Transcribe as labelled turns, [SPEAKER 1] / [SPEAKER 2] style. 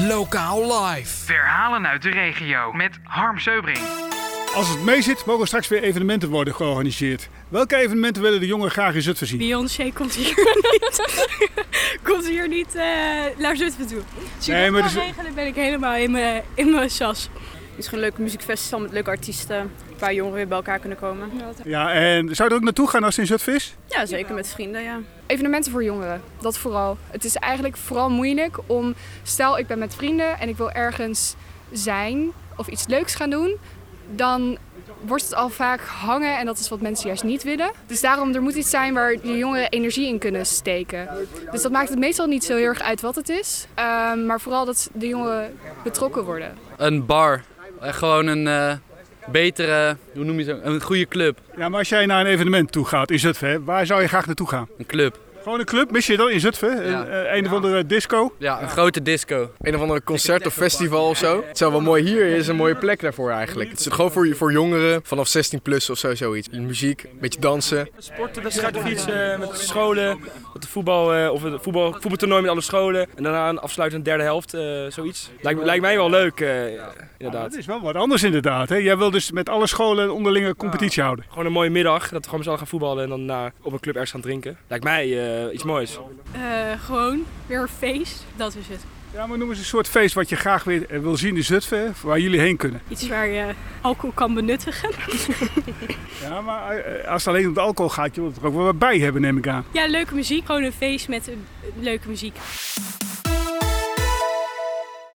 [SPEAKER 1] Lokaal live.
[SPEAKER 2] Verhalen uit de regio met Harm Seubring.
[SPEAKER 3] Als het mee zit, mogen straks weer evenementen worden georganiseerd. Welke evenementen willen de jongeren graag in Zutphen zien?
[SPEAKER 4] Beyoncé komt hier niet, komt hier niet eh, naar Zutphen toe. Als je
[SPEAKER 3] Nee,
[SPEAKER 4] dat
[SPEAKER 3] maar
[SPEAKER 4] kan
[SPEAKER 3] dus-
[SPEAKER 4] regelen, ben ik helemaal in mijn, in mijn sas. Het is gewoon een leuk muziekfestival met leuke artiesten. Waar jongeren weer bij elkaar kunnen komen.
[SPEAKER 3] Ja, en zou je er ook naartoe gaan als het in Zutphen is?
[SPEAKER 4] Ja, zeker met vrienden, ja.
[SPEAKER 5] Evenementen voor jongeren, dat vooral. Het is eigenlijk vooral moeilijk om, stel ik ben met vrienden en ik wil ergens zijn of iets leuks gaan doen, dan wordt het al vaak hangen en dat is wat mensen juist niet willen. Dus daarom, er moet iets zijn waar de jongeren energie in kunnen steken. Dus dat maakt het meestal niet zo heel erg uit wat het is, ehm, maar vooral dat de jongeren betrokken worden.
[SPEAKER 6] een bar. Eh, Gewoon een eh, betere, hoe noem je zo? Een goede club.
[SPEAKER 3] Ja, maar als jij naar een evenement toe gaat in Zutphen, hè, waar zou je graag naartoe gaan?
[SPEAKER 6] Een club.
[SPEAKER 3] Gewoon een club, mis je dat in Zutphen?
[SPEAKER 6] Ja.
[SPEAKER 3] Een, eh, een of andere disco?
[SPEAKER 6] Ja, een grote disco.
[SPEAKER 7] een of andere concert of festival of zo. Het zou wel mooi hier is, een mooie plek daarvoor eigenlijk. Het is gewoon voor, voor jongeren vanaf 16 plus of zo, zoiets. Muziek, een beetje dansen.
[SPEAKER 8] Sportwedstrijd fietsen eh, met de scholen. Met de voetbal, eh, of het voetbal, voetbaltoernooi met alle scholen. En daarna een afsluitende derde helft, eh, zoiets. Lijkt, me- lijkt mij wel leuk, eh,
[SPEAKER 3] Dat
[SPEAKER 8] inderdaad.
[SPEAKER 3] is wel wat anders inderdaad. Hè? Jij wil dus met alle scholen een onderlinge competitie houden.
[SPEAKER 8] Gewoon een mooie middag, dat we gewoon met z'n allen gaan voetballen en dan daarna op een club ergens gaan drinken. Lijkt mij eh, iets moois.
[SPEAKER 4] Eh, gewoon weer een feest. Dat is het.
[SPEAKER 3] Ja, maar noem eens een soort feest wat je graag weer eh, wil zien in Zutphen, hè, waar jullie heen kunnen.
[SPEAKER 4] Iets waar je alcohol kan benuttigen.
[SPEAKER 3] Ja, maar eh, als het alleen om de alcohol gaat, je wilt er ook wel wat bij hebben, neem ik aan.
[SPEAKER 4] Ja, leuke muziek. Gewoon een feest met eh, leuke muziek.